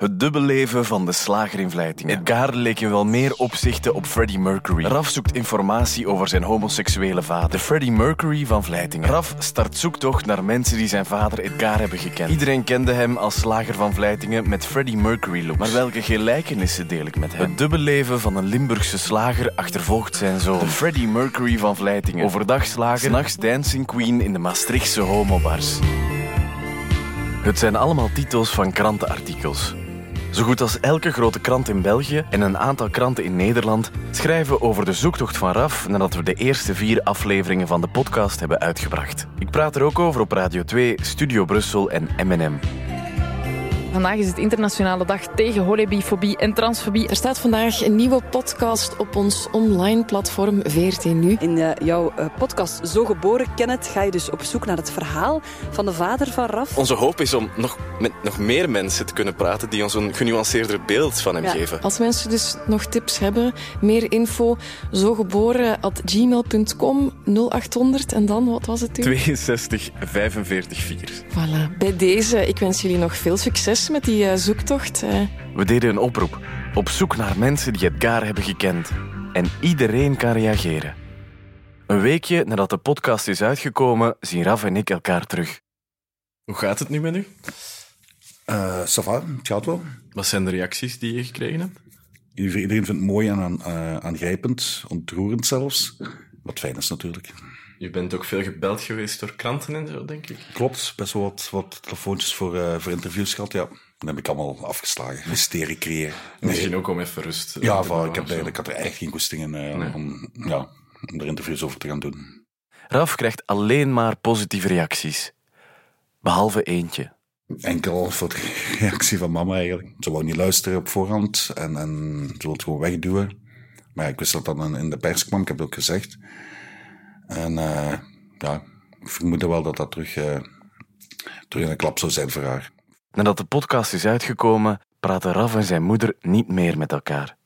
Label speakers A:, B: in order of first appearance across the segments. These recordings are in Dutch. A: Het dubbelleven van de slager in Vleitingen. Edgar leek in wel meer opzichten op Freddie Mercury. Raf zoekt informatie over zijn homoseksuele vader. De Freddie Mercury van Vleitingen. Raf start zoektocht naar mensen die zijn vader Edgar hebben gekend. Iedereen kende hem als slager van Vleitingen met Freddie Mercury look. Maar welke gelijkenissen deel ik met hem? Het dubbelleven van een Limburgse slager achtervolgt zijn zoon. De Freddie Mercury van Vleitingen. Overdag slager, s'nachts dancing queen in de Maastrichtse homobars. Het zijn allemaal titels van krantenartikels. Zo goed als elke grote krant in België en een aantal kranten in Nederland schrijven over de zoektocht van RAF nadat we de eerste vier afleveringen van de podcast hebben uitgebracht. Ik praat er ook over op Radio 2, Studio Brussel en M&M.
B: Vandaag is het Internationale Dag tegen holebifobie en transfobie.
C: Er staat vandaag een nieuwe podcast op ons online platform VRT Nu.
D: In eh, jouw eh, podcast Zo Geboren Kenneth ga je dus op zoek naar het verhaal van de vader van Raf.
E: Onze hoop is om nog met nog meer mensen te kunnen praten die ons een genuanceerder beeld van hem
D: Ja.
E: geven.
C: Als mensen dus nog tips hebben, meer info, zogeboren at gmail.com 0800 en dan, wat was het toen?
A: 62 45 4.
C: Voilà. Bij deze, ik wens jullie nog veel succes met die eh, zoektocht. eh.
A: We deden een oproep op zoek naar mensen die Edgar hebben gekend. En iedereen kan reageren. Een weekje nadat de podcast is uitgekomen, zien Raf en ik elkaar terug.
E: Hoe gaat het nu met u?
F: Eh ça va, het gaat wel.
E: Wat zijn de reacties die je gekregen hebt?
F: Iedereen vindt het mooi en aan, eh, aangrijpend, ontroerend zelfs. Wat fijn is natuurlijk.
E: Je bent ook veel gebeld geweest door kranten en zo, denk ik.
F: Klopt, best wel wat, wat telefoontjes voor, eh, voor interviews gehad, ja. Dat heb ik allemaal afgeslagen. Mysterie creëren.
E: Misschien ook om even rust eh,
F: Ja,
E: te
F: van,
E: bouwen
F: ik, heb
E: of zo.
F: eigenlijk, ik had er eigenlijk geen goesting in eh,
E: Nee.
F: om, ja, om er interviews over te gaan doen.
A: Raf krijgt alleen maar positieve reacties. Behalve eentje.
F: Enkel voor de reactie van mama eigenlijk. Ze wou niet luisteren op voorhand en, en ze wilde het gewoon wegduwen. Maar ja, ik wist dat dat dan in de pers kwam, ik heb het ook gezegd. En eh, ja, ik vermoedde wel dat dat terug, eh, terug een klap zou zijn voor haar.
A: Nadat de podcast is uitgekomen, praten Raf en zijn moeder niet meer met elkaar.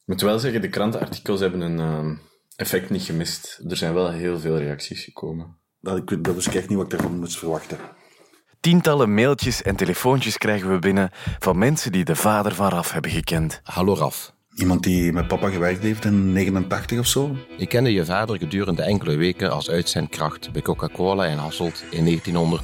E: Ik moet wel zeggen, de krantenartikels hebben een ehm, effect niet gemist. Er zijn wel heel veel reacties gekomen.
F: Dat, ik, dat wist ik echt niet wat ik daarvan moest verwachten.
A: Tientallen mailtjes en telefoontjes krijgen we binnen van mensen die de vader van Raf hebben gekend.
G: Hallo Raf,
F: Iemand die met papa gewerkt heeft in 89 of zo.
G: ik kende je vader gedurende enkele weken als uitzendkracht bij Coca-Cola in Hasselt in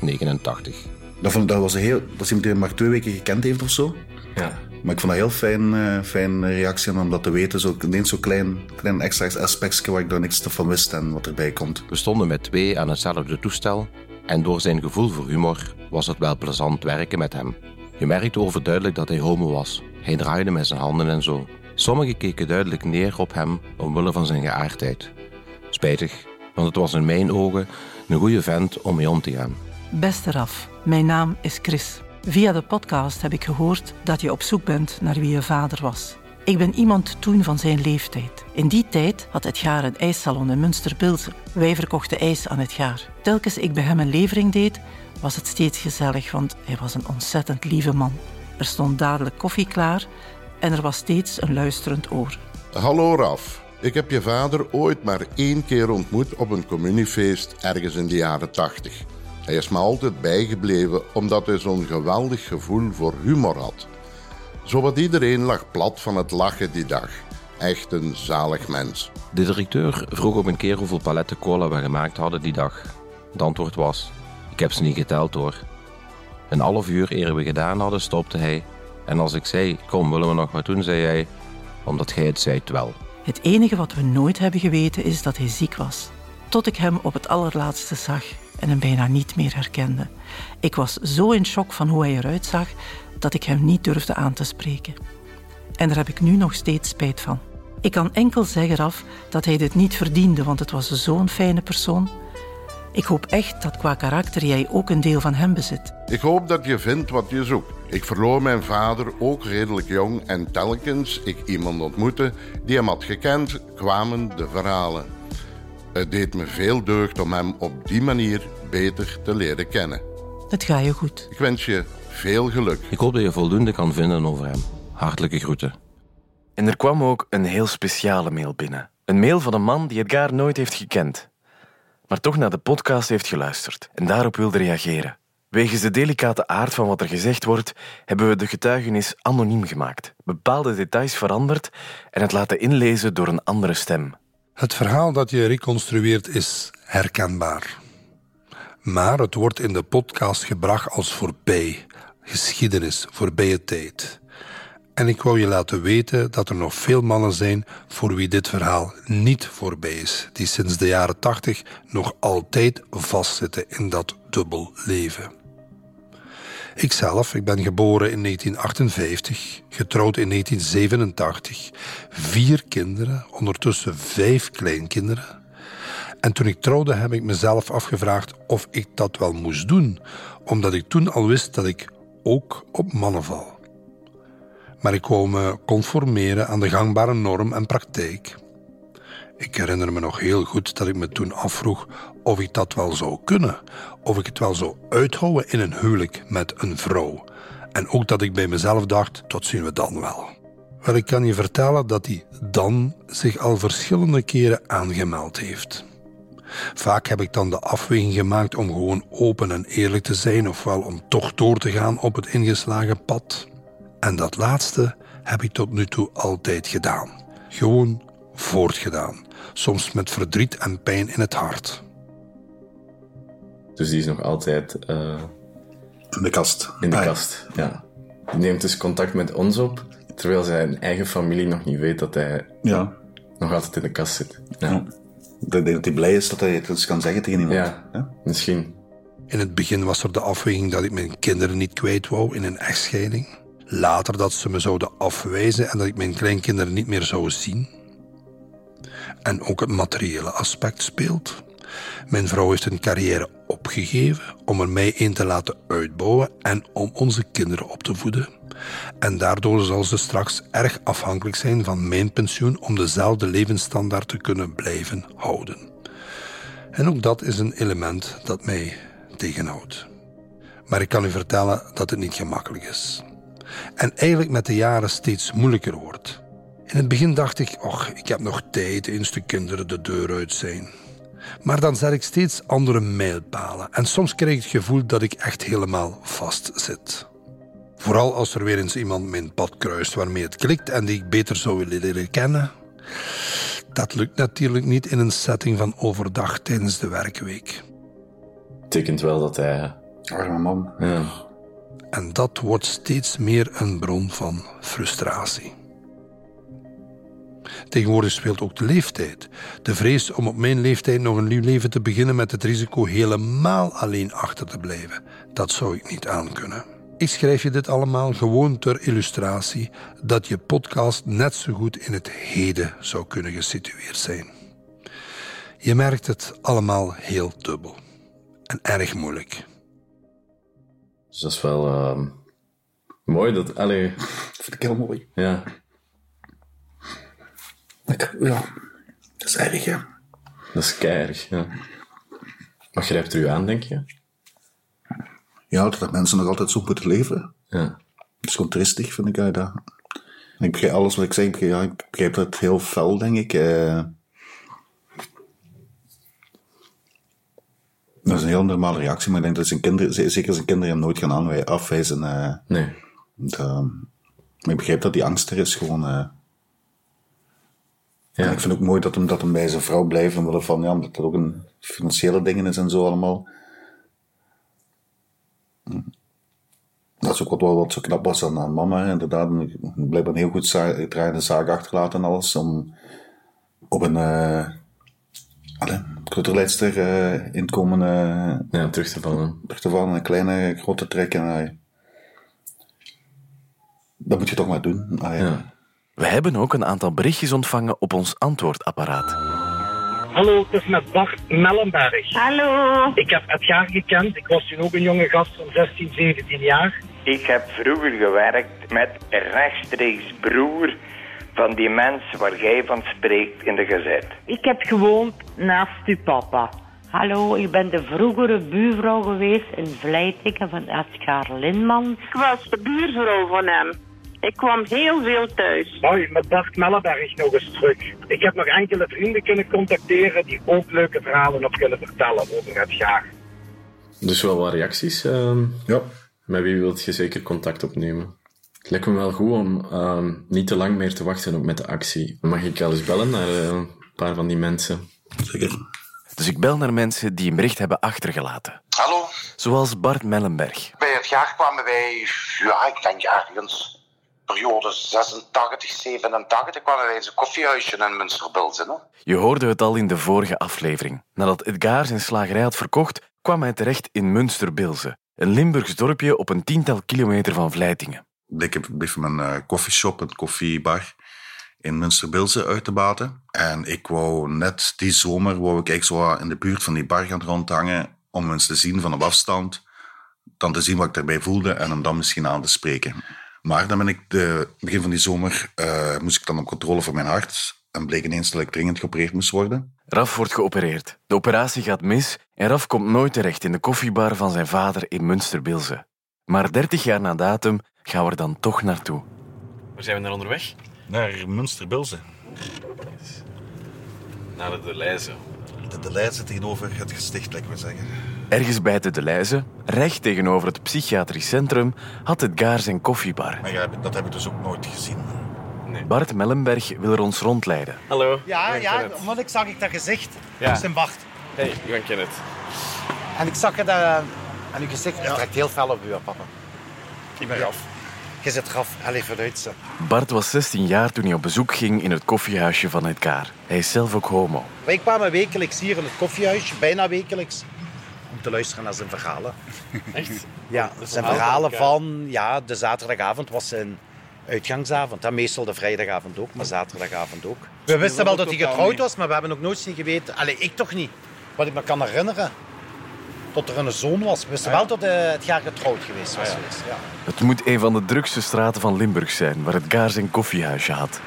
G: 1989.
F: Dat, vond, ik- dat, was een heel, dat is iemand die hem maar twee weken gekend heeft of zo.
E: Ja.
F: Maar ik vond dat heel fijn, eh fijn reactie en om dat te weten. Zo, ineens zo'n klein, klein extra aspectje waar ik daar niks van wist en wat erbij komt.
G: We stonden met twee aan hetzelfde toestel en door zijn gevoel voor humor was het wel plezant werken met hem. Je merkte overduidelijk dat hij homo was. Hij draaide met zijn handen en zo. Sommigen keken duidelijk neer op hem omwille van zijn geaardheid. Spijtig, want het was in mijn ogen een goede vent om mee om te gaan.
H: Beste Raf, mijn naam is Chris. Via de podcast heb ik gehoord dat je op zoek bent naar wie je vader was. Ik ben iemand toen van zijn leeftijd. In die tijd had Edgaar een ijssalon in Münster-Bilzen. Wij verkochten ijs aan Edgaar. Telkens ik bij hem een levering deed, was het steeds gezellig, want hij was een ontzettend lieve man. Er stond dadelijk koffie klaar en er was steeds een luisterend oor.
I: Hallo Raf. Ik heb je vader ooit maar één keer ontmoet op een communiefeest ergens in de jaren 80. Hij is me altijd bijgebleven omdat hij zo'n geweldig gevoel voor humor had. Zowat iedereen lag plat van het lachen die dag. Echt een zalig mens.
G: De directeur vroeg op een keer hoeveel paletten cola we gemaakt hadden die dag. Het antwoord was: Ik heb ze niet geteld hoor. Een half uur eer we gedaan hadden, stopte hij. En als ik zei: Kom, willen we nog wat doen? zei hij: Omdat jij het zei, het wel.
H: Het enige wat we nooit hebben geweten is dat hij ziek was. Tot ik hem op het allerlaatste zag en hem bijna niet meer herkende. Ik was zo in shock van hoe hij eruit zag dat ik hem niet durfde aan te spreken. En daar heb ik nu nog steeds spijt van. Ik kan enkel zeggen af dat hij dit niet verdiende, want het was zo'n fijne persoon. Ik hoop echt dat qua karakter jij ook een deel van hem bezit.
I: Ik hoop dat je vindt wat je zoekt. Ik verloor mijn vader ook redelijk jong en telkens ik iemand ontmoette die hem had gekend, kwamen de verhalen. Het deed me veel deugd om hem op die manier beter te leren kennen.
H: Het gaat je goed.
I: Ik wens je veel geluk.
G: Ik hoop dat je voldoende kan vinden over hem. Hartelijke groeten.
A: En er kwam ook een heel speciale mail binnen. Een mail van een man die Edgar nooit heeft gekend, maar toch naar de podcast heeft geluisterd en daarop wilde reageren. Wegens de delicate aard van wat er gezegd wordt, hebben we de getuigenis anoniem gemaakt, bepaalde details veranderd en het laten inlezen door een andere stem.
J: Het verhaal dat je reconstrueert is herkenbaar. Maar het wordt in de podcast gebracht als voorbij, geschiedenis, voorbije tijd. En ik wou je laten weten dat er nog veel mannen zijn voor wie dit verhaal niet voorbij is, die sinds de jaren 80 nog altijd vastzitten in dat dubbel leven. Ikzelf, ik ben geboren in 1958, getrouwd in 1987, vier kinderen, ondertussen vijf kleinkinderen. En toen ik trouwde heb ik mezelf afgevraagd of ik dat wel moest doen, omdat ik toen al wist dat ik ook op mannen val. Maar ik wou me conformeren aan de gangbare norm en praktijk. Ik herinner me nog heel goed dat ik me toen afvroeg of ik dat wel zou kunnen, of ik het wel zou uithouden in een huwelijk met een vrouw. En ook dat ik bij mezelf dacht, tot zien we dan wel. Wel, ik kan je vertellen dat die dan zich al verschillende keren aangemeld heeft. Vaak heb ik dan de afweging gemaakt om gewoon open en eerlijk te zijn, ofwel om toch door te gaan op het ingeslagen pad. En dat laatste heb ik tot nu toe altijd gedaan. Gewoon voortgedaan, soms met verdriet en pijn in het hart.
E: Dus die is nog altijd eh,
F: In de kast.
E: in de
F: Ah, ja.
E: kast. Ja. Die neemt dus contact met ons op, terwijl zijn eigen familie nog niet weet dat hij
F: Ja.
E: nog altijd in de kast zit. Ja.
F: ja. Ik denk dat hij blij is dat hij het eens kan zeggen tegen iemand.
E: Ja. Misschien.
J: In het begin was er de afweging dat ik mijn kinderen niet kwijt wou in een echtscheiding. Later dat ze me zouden afwijzen en dat ik mijn kleinkinderen niet meer zou zien. En ook het materiële aspect speelt. Mijn vrouw heeft een carrière opgegeven om er mij in te laten uitbouwen en om onze kinderen op te voeden. En daardoor zal ze straks erg afhankelijk zijn van mijn pensioen om dezelfde levensstandaard te kunnen blijven houden. En ook dat is een element dat mij tegenhoudt. Maar ik kan u vertellen dat het niet gemakkelijk is. En eigenlijk met de jaren steeds moeilijker wordt. In het begin dacht ik, och, ik heb nog tijd eens de kinderen de deur uit zijn. Maar dan zet ik steeds andere mijlpalen en soms krijg ik het gevoel dat ik echt helemaal vast zit. Vooral als er weer eens iemand mijn pad kruist waarmee het klikt en die ik beter zou willen leren kennen, dat lukt natuurlijk niet in een setting van overdag tijdens de werkweek.
E: Betekent wel dat hij...
F: Arme man.
E: Ja.
J: En dat wordt steeds meer een bron van frustratie. Tegenwoordig speelt ook de leeftijd. De vrees om op mijn leeftijd nog een nieuw leven te beginnen met het risico helemaal alleen achter te blijven. Dat zou ik niet aankunnen. Ik schrijf je dit allemaal gewoon ter illustratie dat je podcast net zo goed in het heden zou kunnen gesitueerd zijn. Je merkt het allemaal heel dubbel en erg moeilijk.
E: Dus dat is wel ehm, mooi dat... Allee,
F: Vind ik heel mooi.
E: ja.
F: Ik- Ja. Dat is erg, ja.
E: Dat is keihard, ja. Wat grijpt er u aan, denk je?
F: Ja, dat mensen nog altijd zo moeten leven.
E: Ja.
F: Dat is gewoon tristig, vind ik. ja, dat. En Ik begrijp alles wat ik zeg. Ik begrijp, ja, ik begrijp dat heel fel, denk ik. eh. dat is een heel normale reactie, maar ik denk dat zijn kinderen, ze- zeker zijn kinderen hem nooit gaan aanwij- afwijzen. eh.
E: Nee.
F: Want, eh, maar ik begrijp dat die angst er is gewoon. eh.
E: Ja.
F: En ik vind ook mooi dat hem, dat hem bij zijn vrouw blijft, omwille van, ja, omdat dat ook een financiële dingen is en zo allemaal. Hm. Dat is ook wat, wat zo knap was aan, aan mama, hè. inderdaad. Een- Blijkbaar een heel goed za- draaiende zaak achtergelaten en alles, om op een eh allee, cultuurleidster eh, inkomen eh,
E: Ja, terug te vallen.
F: terug te vallen, een kleine, grote trek. En, eh, dat moet je toch maar doen. Ah, ja.
E: Ja.
A: We hebben ook een aantal berichtjes ontvangen op ons antwoordapparaat.
K: Hallo, het is met Bart Mellenberg.
L: Hallo.
K: Ik heb Edgar gekend. Ik was toen ook een jonge gast van 16, 17 jaar.
L: Ik heb vroeger gewerkt met rechtstreeks broer van die mens waar jij van spreekt in de gezet. Ik heb gewoond naast uw papa. Hallo, ik ben de vroegere buurvrouw geweest in Vleitingen van Edgar Lindman. Ik was de buurvrouw van hem. Ik kwam heel veel thuis.
K: Mooi, met Bart Mellenberg nog eens terug. Ik heb nog enkele vrienden kunnen contacteren die ook leuke verhalen op kunnen vertellen over Edgar.
E: Dus wel wat reacties. ehm. Met wie wilt je zeker contact opnemen? Het lijkt me wel goed om ehm, niet te lang meer te wachten ook met de actie. Dan mag ik wel eens bellen naar eh, een paar van die mensen.
F: Zeker.
A: Dus ik bel naar mensen die een bericht hebben achtergelaten.
M: Hallo,
A: Zoals Bart Mellenberg.
M: bij het jaar kwamen wij, ja, ik denk ergens periode 86, 87 kwamen wij in zijn koffiehuisje in Münsterbil zitten.
A: Je hoorde het al in de vorige aflevering. Nadat Edgar zijn slagerij had verkocht, kwam hij terecht in Münsterbilze, een Limburgs dorpje op een tiental kilometer van Vleitingen.
F: Ik heb bleef mijn eh, koffieshop, een koffiebar in Münsterbilze uit te baten. En ik wou net die zomer wou ik eigenlijk zo wat in de buurt van die bar gaan rondhangen om eens te zien van op afstand, dan te zien wat ik daarbij voelde en hem dan misschien aan te spreken. Maar dan ben ik de begin van die zomer eh, moest ik dan op controle voor mijn hart en bleek ineens dat ik dringend geopereerd moest worden.
A: Raf wordt geopereerd. De operatie gaat mis en Raf komt nooit terecht in de koffiebar van zijn vader in Münsterbilze. Maar 30 jaar na datum gaan we er dan toch naartoe. Waar zijn we naar onderweg?
F: Naar Münsterbilze.
E: Naar de Leize.
F: De, de Leize tegenover het gesticht, lijkt me zeggen.
A: Ergens bij de Deleize, recht tegenover het psychiatrisch centrum, had Edgar zijn koffiebar.
F: Maar ja, dat heb ik dus ook nooit gezien.
A: Bart Mellenberg wil er ons rondleiden.
E: Hallo.
N: Ja,
E: ik
N: ja,
E: ben het.
N: want ik zag ik dat gezicht.
A: Ja.
N: Dat is een wacht.
E: Hey, ik ben Kenneth.
N: En ik zag je dat eh, aan uw gezicht. Het trekt heel fel op u, hè, papa. Ik ben Raf. Je zit Raf. Allee, vooruit ze.
A: Bart was 16 jaar toen hij op bezoek ging in het koffiehuisje van Edgar. Hij is zelf ook homo.
N: Wij kwamen wekelijks hier in het koffiehuisje, bijna wekelijks, om te luisteren naar zijn verhalen.
E: Echt?
N: Ja, zijn verhalen van ja, de zaterdagavond was zijn uitgangsavond. En meestal de vrijdagavond ook, maar zaterdagavond ook. We wisten wel dat hij getrouwd was, maar we hebben ook nooit zien geweten. Allee, ik toch niet. Wat ik me kan herinneren. Tot er een zoon was. We wisten wel dat eh, het jaar getrouwd geweest was. geweest, ja.
A: Het moet een van de drukste straten van Limburg zijn, waar Edgar zijn koffiehuisje had.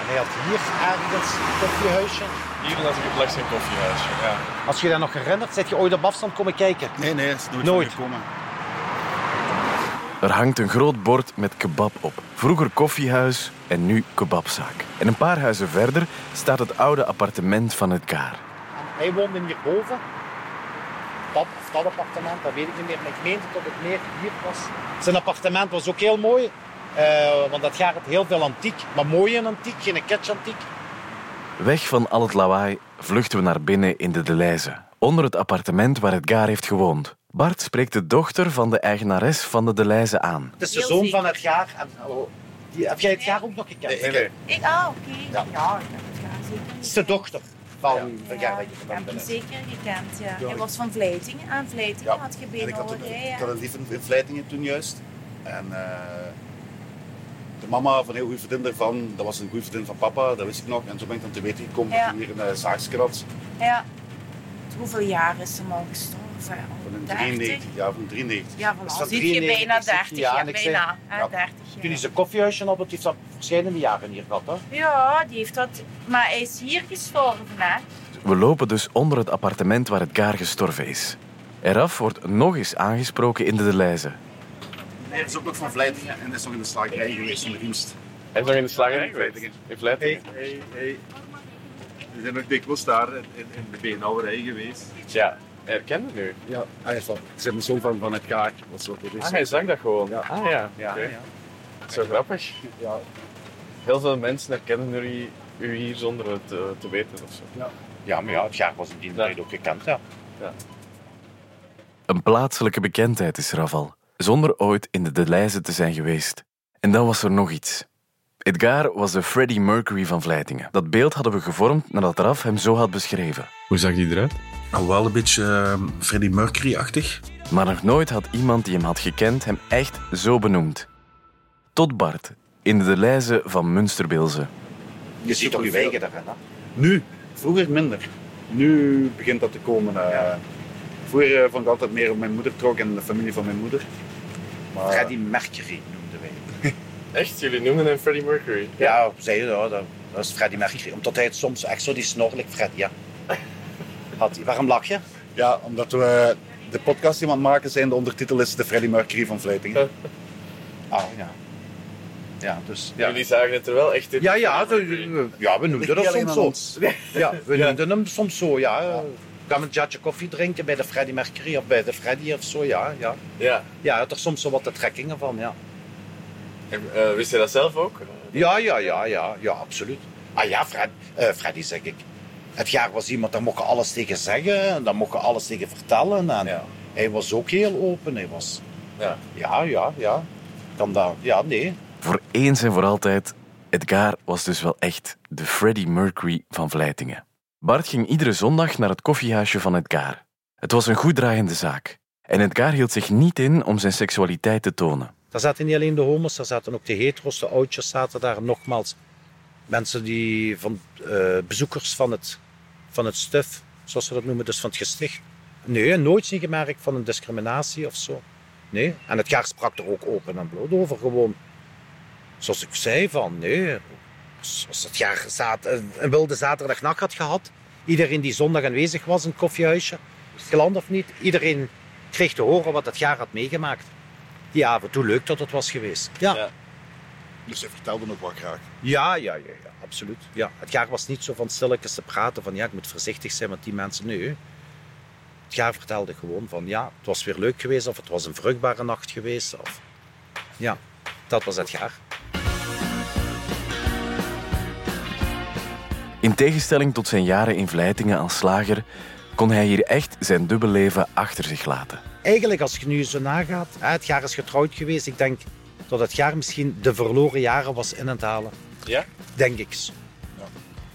N: En hij had hier ergens een koffiehuisje.
E: Hier lag ik langs een koffiehuisje, ja.
N: Als je dat nog herinnert, zit je ooit op afstand komen kijken?
F: Nee, nee, is nooit, gekomen.
A: Er hangt een groot bord met kebab op. Vroeger koffiehuis en nu kebabzaak. En een paar huizen verder staat het oude appartement van Edgar.
N: Hij woonde hierboven. Dat, of dat appartement, dat weet ik niet meer. Maar ik meende dat het meer hier was. Zijn appartement was ook heel mooi. eh, want dat gaat het heel veel antiek. Maar mooi en antiek, geen catch antiek.
A: Weg van al het lawaai vluchten we naar binnen in de Deleize. Onder het appartement waar Edgar heeft gewoond. Bart spreekt de dochter van de eigenares van de Deleize aan.
N: Het is de zoon van het jaar. En, oh, die, heb jij het jaar ook nog gekend? Nee,
O: Ik, ah, oké. Ja. ja, ik heb het graag
N: Het
O: zeker.
N: is de dochter van
O: Ja,
N: het jaar dat
O: ik
N: je
O: heb
N: gewend
O: hem
N: bent.
O: zeker gekend, ja.
N: Ja,
O: Hij
N: ik-
O: was van Vleitingen. Aan Vleitingen had je
N: En ik had
O: beenhouwerij.
N: een- ik
O: ja.
N: had
F: een lief in Vleitingen toen juist. En eh, de mama van een heel goede vriendin daarvan, dat was een goede vriendin van papa, dat wist ik nog. En zo ben ik dan te weten gekomen dat
O: Ja.
F: hij hier in eh, de Zaagske had.
O: Ja. Hoeveel jaar is hem al gestorven? Al
F: Van een
O: 30?
F: 93, ja, van 93.
O: Ja,
N: Is dat
O: voilà. Zie je
N: 93,
O: bijna
N: 16
O: 30
N: jaar?
O: jaar.
N: En ik zei-
O: Bijna. hè,
N: Ja.
O: 30
N: Toen hij
O: jaar.
N: zijn koffiehuisje had, dat heeft dat verschillende jaren hier gehad. Hè?
O: Ja, die heeft dat... Maar hij is hier gestorven, hè.
A: We lopen dus onder het appartement waar Edgar gestorven is. Eraf wordt nog eens aangesproken in de Deleize.
F: Hij is ook nog van Vleitingen en is nog in de slagerij geweest in de dienst.
E: Hij is nog in de slagerij geweest? In Vleitingen?
F: Hey, hey. We zijn nog dikwijls daar in, in, in de beenhouwerij geweest.
E: Ja, herkende nu?
F: Ja, hij is van. Ik ben zoon van, van het kaart. Wat soort
E: Ah, hij zag dat gewoon? Ah ja. oké. Zo grappig. Ja. Heel veel mensen herkennen jullie u hier zonder het eh, te weten of zo. Ja.
N: Ja, maar ja, het jaar was in die tijd ook gekend. Ja.
A: Een plaatselijke bekendheid is Raval, zonder ooit in de Deleize te zijn geweest. En dan was er nog iets. Edgar was de Freddie Mercury van Vleitingen. Dat beeld hadden we gevormd nadat Raf hem zo had beschreven.
E: Hoe zag die eruit?
F: Oh, wel een beetje eh, Freddie Mercury-achtig.
A: Maar nog nooit had iemand die hem had gekend hem echt zo benoemd. Tot Bart, in de Deleize van Münsterbilze.
N: Je ziet toch uw eigen daarin. Hè?
F: Nu, vroeger minder. Nu begint dat te komen. eh. Vroeger eh, vond ik altijd meer op mijn moeder trok en de familie van mijn moeder. Maar...
N: Freddie Mercury noemden wij.
E: Echt? Jullie noemen hem Freddie Mercury?
N: Ja, zei je dat, dat- dat is Freddie Mercury. Omdat hij het soms echt zo die snorlijk Freddy ja. had. hij. Waarom lach je?
F: Ja, omdat we de podcast die we aan het maken zijn, de ondertitel is de Freddie Mercury van Vleitingen.
N: Ah, ja. Ja, dus...
E: Jullie zagen het er wel echt in.
N: Ja, ja, we, ja, we noemden
F: Ligt
N: dat
F: niet alleen
N: soms zo.
F: aan ons.
N: Ja, we noemden hem soms zo, ja. Gaan we een jatje koffie drinken bij de Freddy Mercury of bij de Freddy of zo, ja. Ja,
P: Ja.
N: ja je had er soms zo wat de trekkingen van, ja.
P: En, eh, wist je dat zelf ook?
N: Ja, ja, ja, ja, ja, absoluut. Ah ja, Fred, eh, Freddy zeg ik. Het jaar was iemand, daar mocht je alles tegen zeggen en daar mocht je alles tegen vertellen. En Hij was ook heel open, hij was...
P: Ja.
N: Ja, ja, ja. Kan dat... Ja, nee.
A: Voor eens en voor altijd, Edgar was dus wel echt de Freddie Mercury van Vleitingen. Bart ging iedere zondag naar het koffiehuisje van Edgar. Het was een goed draaiende zaak. En Edgar hield zich niet in om zijn seksualiteit te tonen.
N: Daar zaten niet alleen de homo's, daar zaten ook de hetero's, de oudjes zaten daar. Nogmaals, mensen die van eh, bezoekers van het, van het stuf, zoals ze dat noemen, dus van het gesticht. Nee, nooit niet gemerkt van een discriminatie of zo. Nee, en het jaar sprak er ook open en bloot over gewoon. Zoals ik zei van, nee, zoals het jaar zaad, een een wilde zaterdagnacht had gehad. Iedereen die zondag aanwezig was in het koffiehuisje, geland of niet, iedereen kreeg te horen wat het jaar had meegemaakt. Die avond, hoe leuk dat het was geweest. Ja.
Q: Dus hij vertelde nog wat graag.
N: Ja, ja, ja, ja, absoluut. Ja. Het jaar was niet zo van stilletjes te praten van ja, ik moet voorzichtig zijn met die mensen. Nee. Het jaar vertelde gewoon van ja, het was weer leuk geweest of het was een vruchtbare nacht geweest. Of... Ja, dat was het jaar.
A: In tegenstelling tot zijn jaren in Vleitingen als slager, kon hij hier echt zijn dubbelleven achter zich laten.
N: Eigenlijk, als je nu zo nagaat, hè, het jaar is getrouwd geweest. Ik denk dat het jaar misschien de verloren jaren was in het halen.
P: Ja?
N: Denk ik.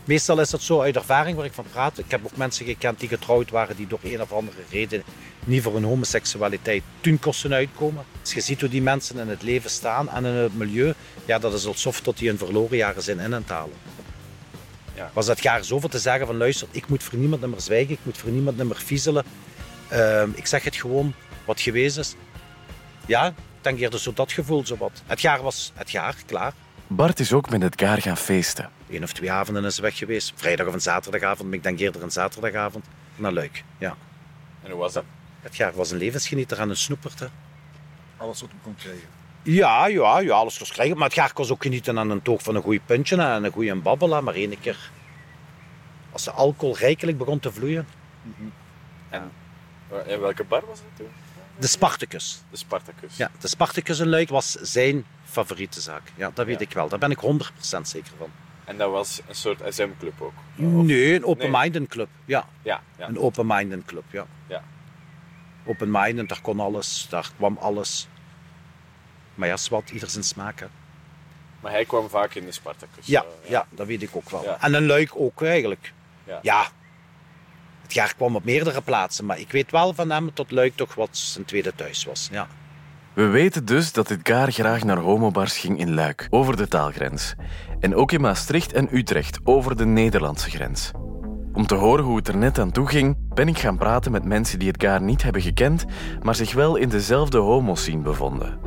N: Meestal is dat zo uit ervaring waar ik van praat. Ik heb ook mensen gekend die getrouwd waren die door een of andere reden niet voor hun homoseksualiteit toen kosten uitkomen. Als je ziet hoe die mensen in het leven staan en in het milieu, ja, dat is alsof dat die hun verloren jaren zijn in aan het halen.
P: Ja.
N: Was dat jaar zoveel te zeggen van luister, ik moet voor niemand meer zwijgen, ik moet voor niemand meer viezelen. Ehm, ik zeg het gewoon wat geweest is. Ja, ik denk eerder zo dat gevoel zo wat. Het jaar was het jaar, klaar.
A: Bart is ook met Edgar gaan feesten.
N: Eén of twee avonden is weg geweest. Vrijdag of een zaterdagavond, maar ik denk eerder een zaterdagavond. Naar Luik, ja.
P: En hoe was dat?
N: Het jaar was een levensgenieter en een snoepert. hè.
Q: Alles wat hem kon krijgen.
N: Ja, ja, ja, alles was krijgen. Maar het jaar was ook genieten aan een toog van een goeie puntje en een goeie babbela. Maar één keer, als de alcohol rijkelijk begon te vloeien.
P: Mhm. En, en welke bar was dat toen?
N: De Spartacus.
P: De Spartacus.
N: Ja, de Spartacus in Luik was zijn favoriete zaak. Ja, dat weet ik wel. Daar ben ik 100% zeker van.
P: En dat was een soort SM-club ook.
N: nee, een open-minded club. Ja.
P: Ja, ja.
N: Een open-minded club, ja.
P: Ja.
N: Open-minded, daar kon alles, daar kwam alles. Maar ja, zwart, ieder zijn smaak. hè.
P: Maar hij kwam vaak in de Spartacus.
N: Ja, ja, dat weet ik ook wel.
P: Ja.
N: En een luik ook eigenlijk.
P: Ja.
N: Ja. Het jaar kwam op meerdere plaatsen, maar ik weet wel van hem dat Luik toch wat zijn tweede thuis was. Ja.
A: We weten dus dat Edgar graag naar homobars ging in Luik, over de taalgrens. En ook in Maastricht en Utrecht, over de Nederlandse grens. Om te horen hoe het er net aan toe ging, ben ik gaan praten met mensen die Edgar niet hebben gekend, maar zich wel in dezelfde homoscene bevonden.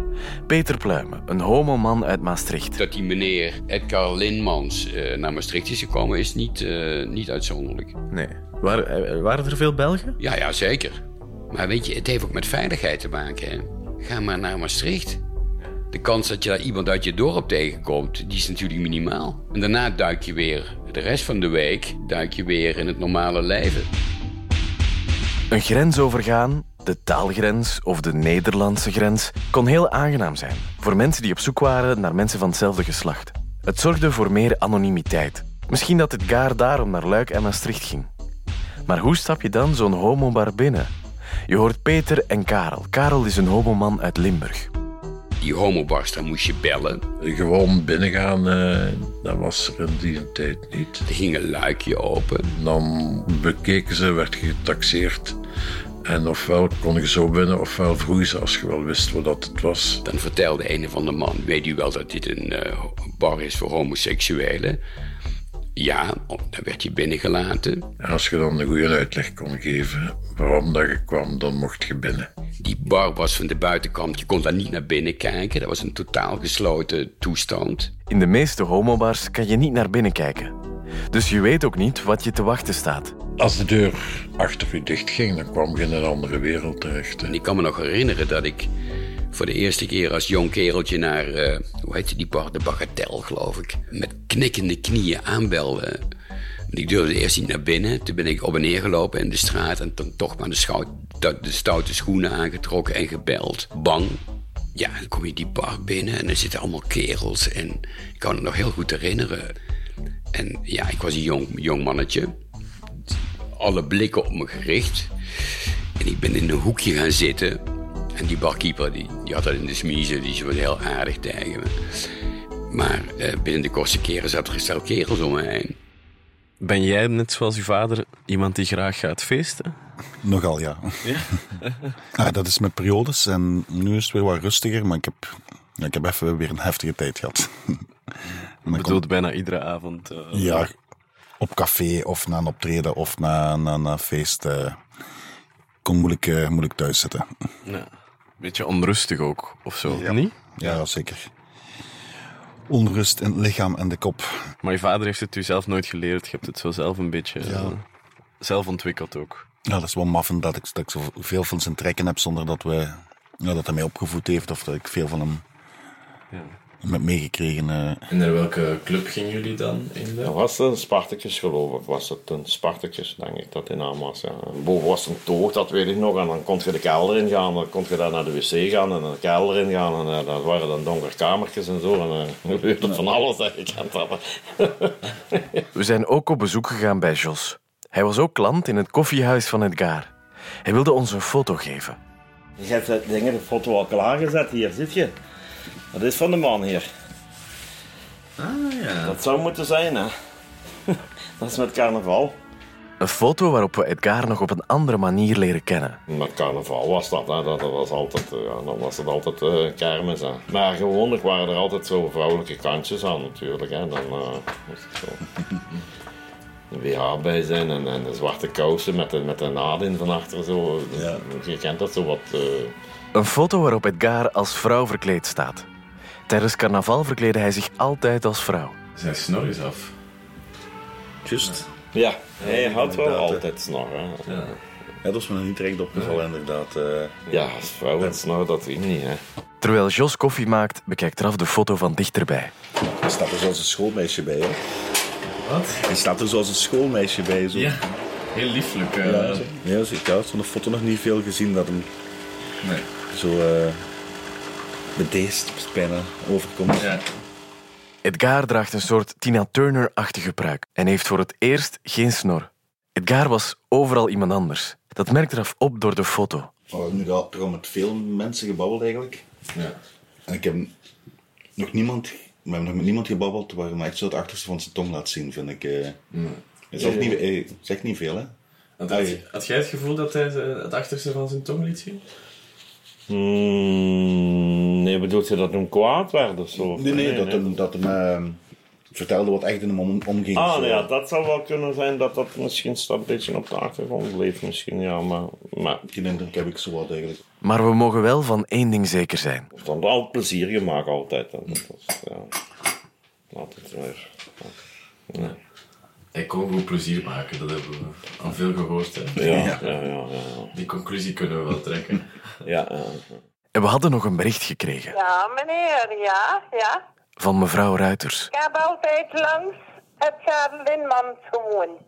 A: Peter Pluimen, een homoman uit Maastricht.
R: Dat die meneer Edgar Lindmans eh, naar Maastricht is gekomen, is niet, eh, niet uitzonderlijk.
A: Nee. eh, waren er veel Belgen?
R: Ja, ja, zeker. Maar weet je, het heeft ook met veiligheid te maken. Hè? Ga maar naar Maastricht. De kans dat je daar iemand uit je dorp tegenkomt, die is natuurlijk minimaal. En daarna duik je weer, de rest van de week, duik je weer in het normale leven.
A: Een grens overgaan, de taalgrens of de Nederlandse grens, kon heel aangenaam zijn voor mensen die op zoek waren naar mensen van hetzelfde geslacht. Het zorgde voor meer anonimiteit. Misschien dat het gaar daarom naar Luik en Maastricht ging. Maar hoe stap je dan zo'n homobar binnen? Je hoort Peter en Karel. Karel is een homoman uit Limburg.
R: Die homobars, daar moest je bellen.
S: Gewoon binnengaan, eh, dat was er in die tijd niet.
R: Er ging een luikje open.
S: Dan bekeken ze, werd je getaxeerd. En ofwel kon je zo binnen, ofwel vroeg ze als je wel wist wat dat het was.
R: Dan vertelde een of andere man: Weet u wel dat dit een eh, bar is voor homoseksuelen? Ja, oh, dan werd je binnengelaten.
S: En als je dan een goede uitleg kon geven waarom dat je kwam, dan mocht je binnen.
R: Die bar was van de buitenkant, je kon daar niet naar binnen kijken. Dat was een totaal gesloten toestand.
A: In de meeste homobars kan je niet naar binnen kijken. Dus je weet ook niet wat je te wachten staat.
S: Als de deur achter je dicht ging, dan kwam je in een andere wereld terecht.
R: En ik kan me nog herinneren dat ik voor de eerste keer als jong kereltje naar, eh, hoe heette die bar, de Bagatelle geloof ik, met knikkende knieën aanbelde. Ik durfde eerst niet naar binnen. Toen ben ik op en neer gelopen in de straat en dan toch maar de, schou- de de stoute schoenen aangetrokken en gebeld. Bang. Ja, dan kom je die bar binnen en er zitten allemaal kerels. En ik kan het nog heel goed herinneren. En ja, ik was een jong, jong mannetje. Alle blikken op me gericht. En ik ben in een hoekje gaan zitten. En die barkeeper die, die had dat in de smiezen, die was heel aardig tegen me. Maar eh, binnen de kortste keren zat er een stel kerels om me heen.
T: Ben jij, net zoals je vader, iemand die graag gaat feesten?
F: Nogal, ja.
T: Ja?
F: Ja, dat is met periodes en nu is het weer wat rustiger, maar ik heb, ja, ik heb even weer een heftige tijd gehad.
T: Ik bedoel, bijna iedere avond. eh,
F: Ja, op café of na een optreden of na, na, na een feest. eh kon moeilijk, eh, moeilijk thuis zitten.
T: Ja. Beetje onrustig ook, of zo, niet?
F: Ja, zeker. Onrust in het lichaam en de kop.
T: Maar je vader heeft het u zelf nooit geleerd. Je hebt het zo zelf een beetje eh, zelf ontwikkeld ook.
F: Ja, dat is wel maffend dat ik, dat ik zoveel van zijn trekken heb zonder dat, we, ja, dat hij mij opgevoed heeft of dat ik veel van hem
T: Ja.
F: heb meegekregen. eh.
E: En naar welke club gingen jullie dan in de...
U: Dat was een Spartakjes, geloof ik. Was het een Spartakjes, denk ik, dat die naam was. Ja. En Boven was een toog, dat weet ik nog. En dan kon je de kelder in gaan, dan kon je daar naar de wc gaan en de kelder in gaan. En eh, dat waren dan donkere kamertjes en zo. En eh, er gebeurde van alles dat je kent had.
A: We zijn ook op bezoek gegaan bij Jos. Hij was ook klant in het koffiehuis van Edgar. Hij wilde ons een foto geven.
V: Je hebt dat ding, de foto al klaargezet hier, zit je? Dat is van de man hier.
U: Ah ja.
V: Dat zou moeten zijn, hè? dat is met carnaval.
A: Een foto waarop we Edgar nog op een andere manier leren kennen.
U: Met carnaval was dat, hè. dat dat was altijd, eh, ja, dan was het altijd eh kermis. Hè. Maar gewoonlijk waren er altijd zo vrouwelijke kantjes aan natuurlijk. Hè. Dan eh moest er zo een BH bij zijn en, en de zwarte kousen met de, met de naden van achter zo. Je kent dat zo wat... eh,
A: Een foto waarop Edgar als vrouw verkleed staat. Tijdens carnaval verkleedde hij zich altijd als vrouw.
T: Zijn snor is af.
U: Just. Ja, hij had wel altijd snor. Hè. Ja.
F: dat was me nog niet direct opgevallen, inderdaad.
U: ja, als vrouw met snor, dat ging niet. Hè.
A: Terwijl Jos koffie maakt, bekijkt Raf de foto van dichterbij.
W: Er staat er zelfs een schoolmeisje bij, hè? Wat? Er staat er zelfs een schoolmeisje bij, zo. Ja,
T: heel lieflijk.
E: eh,
T: eh.
W: Ja, zo. ja, zo- ik had van de foto nog niet veel gezien dat hem
T: Nee.
W: zo eh bedeesd bijna overkomt. Ja.
A: Edgar draagt een soort Tina Turner-achtige pruik en heeft voor het eerst geen snor. Edgar was overal iemand anders. Dat merkt Raf op door de foto.
F: We hebben Oh, nu al- toch al met veel mensen gebabbeld eigenlijk.
U: Ja.
F: En ik heb nog niemand, we hebben nog met niemand gebabbeld waar me echt zo het achterste van zijn tong laat zien, vind ik. eh. Hij zegt,
U: Ja, ja.
F: Niet, hij zegt niet veel, hè?
U: Want
F: Ah,
U: dat-
F: ja.
T: Had jij het gevoel dat hij het achterste van zijn tong liet zien?
U: Hmm, nee, bedoelt je dat hem kwaad werd of zo?
F: Nee, nee, dat hem, dat hem eh, vertelde wat echt in hem om, omging.
U: Ah,
F: Zo.
U: nee, ja, dat zou wel kunnen zijn dat dat misschien staat een beetje op de achtergrond bleef. Misschien, ja, maar... maar...
F: Die indruk heb ik zo wat eigenlijk.
A: Maar we mogen wel van één ding zeker zijn.
U: Het had al plezier gemaakt altijd. hè. Dat was, ja. Laat het maar. Ja.
T: Hij kon goed plezier maken, dat hebben we al veel gehoord. Hè?
U: Ja, ja, ja, ja, ja.
T: Die conclusie kunnen we wel trekken.
U: ja,
A: En we hadden nog een bericht gekregen
X: Ja, meneer, ja, ja.
A: van mevrouw Ruiters.
X: Ik heb altijd langs het Charles Lindmans gewoond.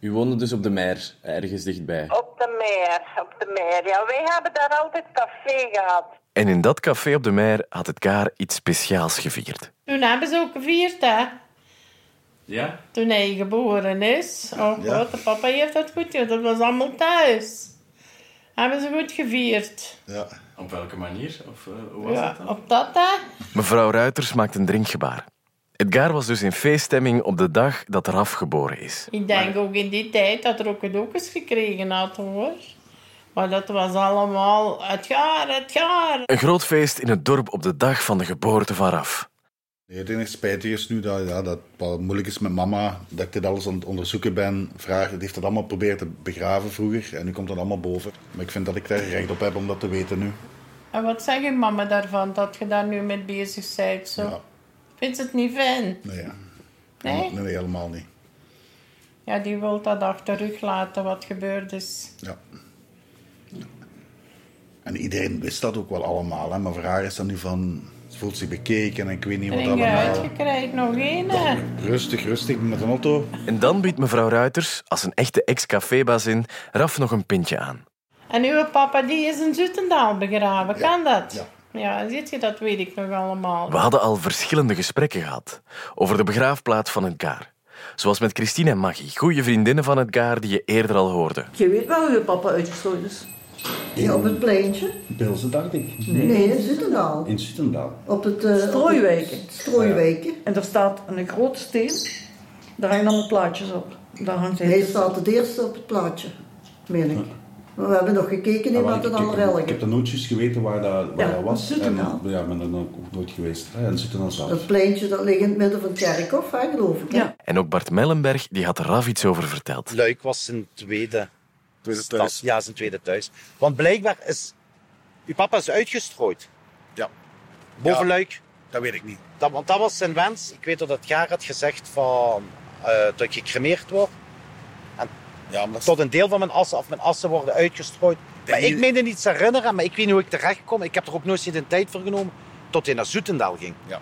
T: U woonde dus op de Meijer, ergens dichtbij.
X: Op de meer, op de meer. Ja, wij hebben daar altijd café gehad.
A: En in dat café op de Meijer had Edgar iets speciaals gevierd.
Y: Toen hebben ze ook gevierd, hè.
T: Ja?
Y: Toen hij geboren is. Oh
A: Ja.
Y: god, de papa heeft dat goed gedaan. Dat was allemaal thuis. Hebben ze goed gevierd.
F: Ja.
T: Op welke manier? Of eh, hoe was
Y: Ja,
T: het dan?
Y: op dat, hè.
A: Mevrouw Ruiters maakt een drinkgebaar. Edgar was dus in feeststemming op de dag dat Raf geboren is.
Y: Ik denk ook in die tijd dat er ook cadeautjes gekregen had, hoor. Maar dat was allemaal het jaar, het jaar.
A: Een groot feest in het dorp op de dag van de geboorte van Raf.
F: Het enige spijtige is nu dat, ja, dat het wel moeilijk is met mama, dat ik dit alles aan het onderzoeken ben. Vraag, die heeft dat allemaal proberen te begraven vroeger en nu komt dat allemaal boven. Maar ik vind dat ik daar recht op heb om dat te weten nu.
Y: En wat zeg je mama daarvan, dat je daar nu mee bezig bent? Zo? Vindt ze het niet fijn?
F: Nee, ja.
Y: Nee?
F: nee, nee, helemaal niet.
Y: Ja, die wil dat achter rug laten, wat gebeurd is.
F: Ja. En iedereen wist dat ook wel allemaal, hè? maar voor haar is dat nu van... Ze voelt zich bekeken en ik weet niet wat
Y: En je
F: allemaal.
Y: uitgekregen nog één. hè.
F: Rustig, rustig met een auto.
A: En dan biedt mevrouw Ruiters, als een echte ex-cafébaas in, Raf nog een pintje aan.
Y: En uw papa die is in Zutendaal begraven, kan dat? Ja. Ja, ziet je, dat weet ik nog allemaal.
A: We hadden al verschillende gesprekken gehad over de begraafplaats van het Gaar. Zoals met Christine en Maggie, goede vriendinnen van het Gaar die je eerder al hoorde.
B: Je weet wel hoe je papa uitgesloten is.
C: Ja, op het pleintje?
D: Pilsen, dacht ik.
C: Nee, in Zittendaal.
D: In Suttendaal.
C: Op het... eh, op het-
B: Strooiwijken.
C: Strooiwijken.
B: En daar staat een grote steen. Daar hangen allemaal plaatjes op. Daar hangt
C: Hij staat het eerste op het plaatje, meen ik. Maar we hebben nog gekeken in
D: Ah, wel,
C: wat het
D: ik- ik-
C: allemaal
D: Ik heb de nootjes geweten waar dat, waar
C: Ja,
D: dat was.
C: Suttendaal.
D: En, ja, ben er ook ook nooit geweest. Ja, in Suttendaal zelf.
C: Dat pleintje dat ligt in het midden van het kerkhof, hè, geloof ik. hè?
A: En ook Bart Mellenberg die had Raf iets over verteld.
N: Luik was zijn tweede, stad. Ja, zijn tweede thuis. Want blijkbaar is... Uw papa is uitgestrooid. Ja. Boven Luik.
C: Dat weet ik niet.
N: Dat, want dat was zijn wens. Ik weet dat het jaar had gezegd van, eh, dat ik gecremeerd word. En Tot een deel van mijn assen, of mijn assen worden uitgestrooid. Maar ik meende niets herinneren, maar ik weet niet hoe ik terecht kom. Ik heb er ook nooit zin in tijd voor genomen tot hij naar Zoetendaal ging. Ja.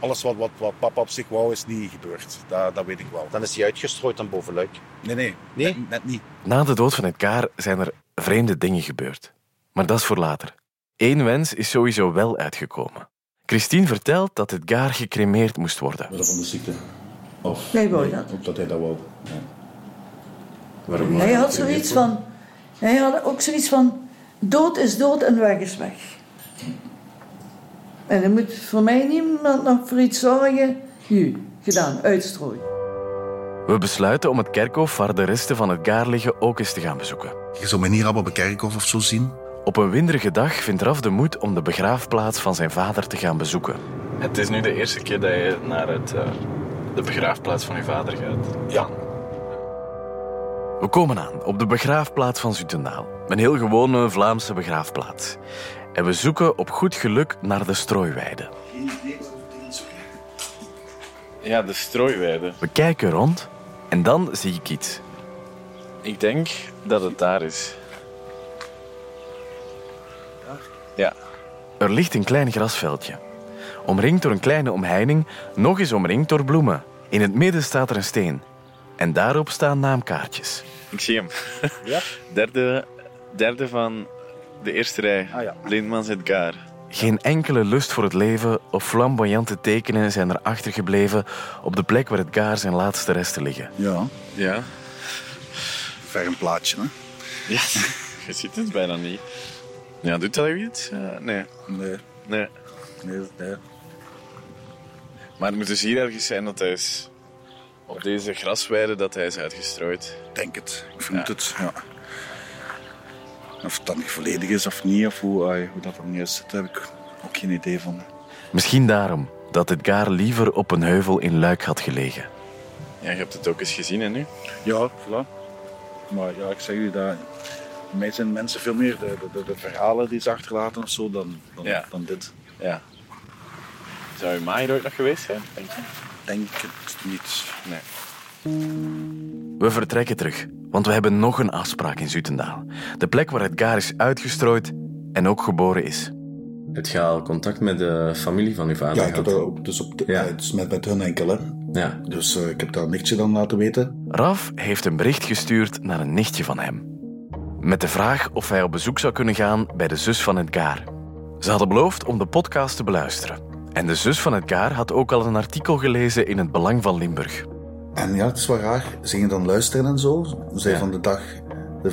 C: Alles wat, wat, wat papa op zich wou is niet gebeurd. Dat, dat weet ik wel.
N: Dan is hij uitgestrooid aan bovenluik.
C: Nee, nee.
N: Nee?
C: Net, net niet.
A: Na de dood van het Gaar zijn er vreemde dingen gebeurd. Maar dat is voor later. Eén wens is sowieso wel uitgekomen. Christine vertelt dat het Gaar gecremeerd moest worden.
D: Van de ziekte. Of,
C: Nee, wou dat.
D: Ook dat hij dat wou. Ja. Waarom
B: Hij had zoiets van... Hij had ook zoiets van... Dood is dood en weg is weg. En er moet voor mij niemand nog voor iets zorgen. Nu, gedaan, uitstrooien.
A: We besluiten om het kerkhof waar de resten van het Gaar liggen ook eens te gaan bezoeken.
F: Je zou mij niet rap op een kerkhof of zo zien.
A: Op een winderige dag vindt Raf de moed om de begraafplaats van zijn vader te gaan bezoeken.
T: Het is nu de eerste keer dat je naar het, eh, de begraafplaats van je vader gaat. Ja.
A: We komen aan op de begraafplaats van Zutendaal. Een heel gewone Vlaamse begraafplaats. En we zoeken op goed geluk naar de strooiweide.
P: Ja, de strooiweide.
A: We kijken rond en dan zie ik iets.
T: Ik denk dat het daar is. Ja.
A: Er ligt een klein grasveldje. Omringd door een kleine omheining, nog eens omringd door bloemen. In het midden staat er een steen. En daarop staan naamkaartjes.
T: Ik zie hem. Derde, derde van de eerste rij.
A: Ah, ja.
T: Lindmans het Gaar.
A: Geen enkele lust voor het leven of flamboyante tekenen zijn er achtergebleven op de plek waar het gaar zijn laatste resten liggen.
F: Ja.
T: Ja.
F: Ver een plaatje, hè?
T: Ja, je ziet het bijna niet. Ja, doet dat u iets? Eh, nee.
F: Nee.
T: Nee.
F: Nee, nee.
T: Maar het moet dus hier ergens zijn dat hij is... Op deze grasweide dat hij is uitgestrooid.
F: Denk het. Ik vermoed het, ja. Of het dan niet volledig is of niet, of hoe, eh, hoe dat er nu zit, heb ik ook geen idee van.
A: Misschien daarom dat het gaar liever op een heuvel in Luik had gelegen.
T: Ja, je hebt het ook eens gezien, hè, nu?
F: Ja, voilà. Maar ja, ik zeg u dat. Voor mij zijn mensen veel meer de, de, de, de verhalen die ze achterlaten of zo dan, dan,
T: Ja.
F: dan dit.
T: Ja. Zou je ma hier ooit nog geweest zijn, denk je?
F: Denk het niet.
T: Nee.
A: We vertrekken terug, want we hebben nog een afspraak in Zutendaal. De plek waar het gaar is uitgestrooid en ook geboren is.
E: Heb je al contact met de familie van je vader
F: Ja, ik heb
E: gehad?
F: dat ook- dus op de, eh, het is met, met hun enkel, hè.
E: Ja.
F: Dus eh, ik heb dat nichtje dan laten weten.
A: Raf heeft een bericht gestuurd naar een nichtje van hem. Met de vraag of hij op bezoek zou kunnen gaan bij de zus van het gaar. Ze hadden beloofd om de podcast te beluisteren. En de zus van het gaar had ook al een artikel gelezen in het Belang van Limburg.
F: En ja, het is wel raar. Ze gingen dan luisteren en zo. Ze zei van de dag... De,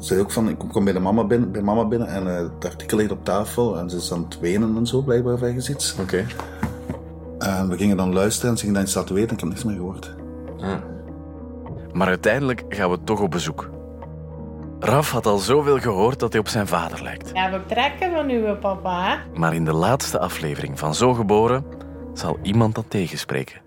F: zei ook van, ik kom bij, de mama binnen, bij mama binnen en eh, het artikel ligt op tafel. En ze is aan het wenen en zo, blijkbaar of ergens iets. Oké. En we gingen dan luisteren en ze gingen dan iets laten weten en ik heb niks meer gehoord.
A: Maar uiteindelijk gaan we toch op bezoek. Raf had al zoveel gehoord dat hij op zijn vader lijkt.
Y: Ja, we trekken van uw papa, hè?
A: Maar in de laatste aflevering van Zo Geboren zal iemand dat tegenspreken.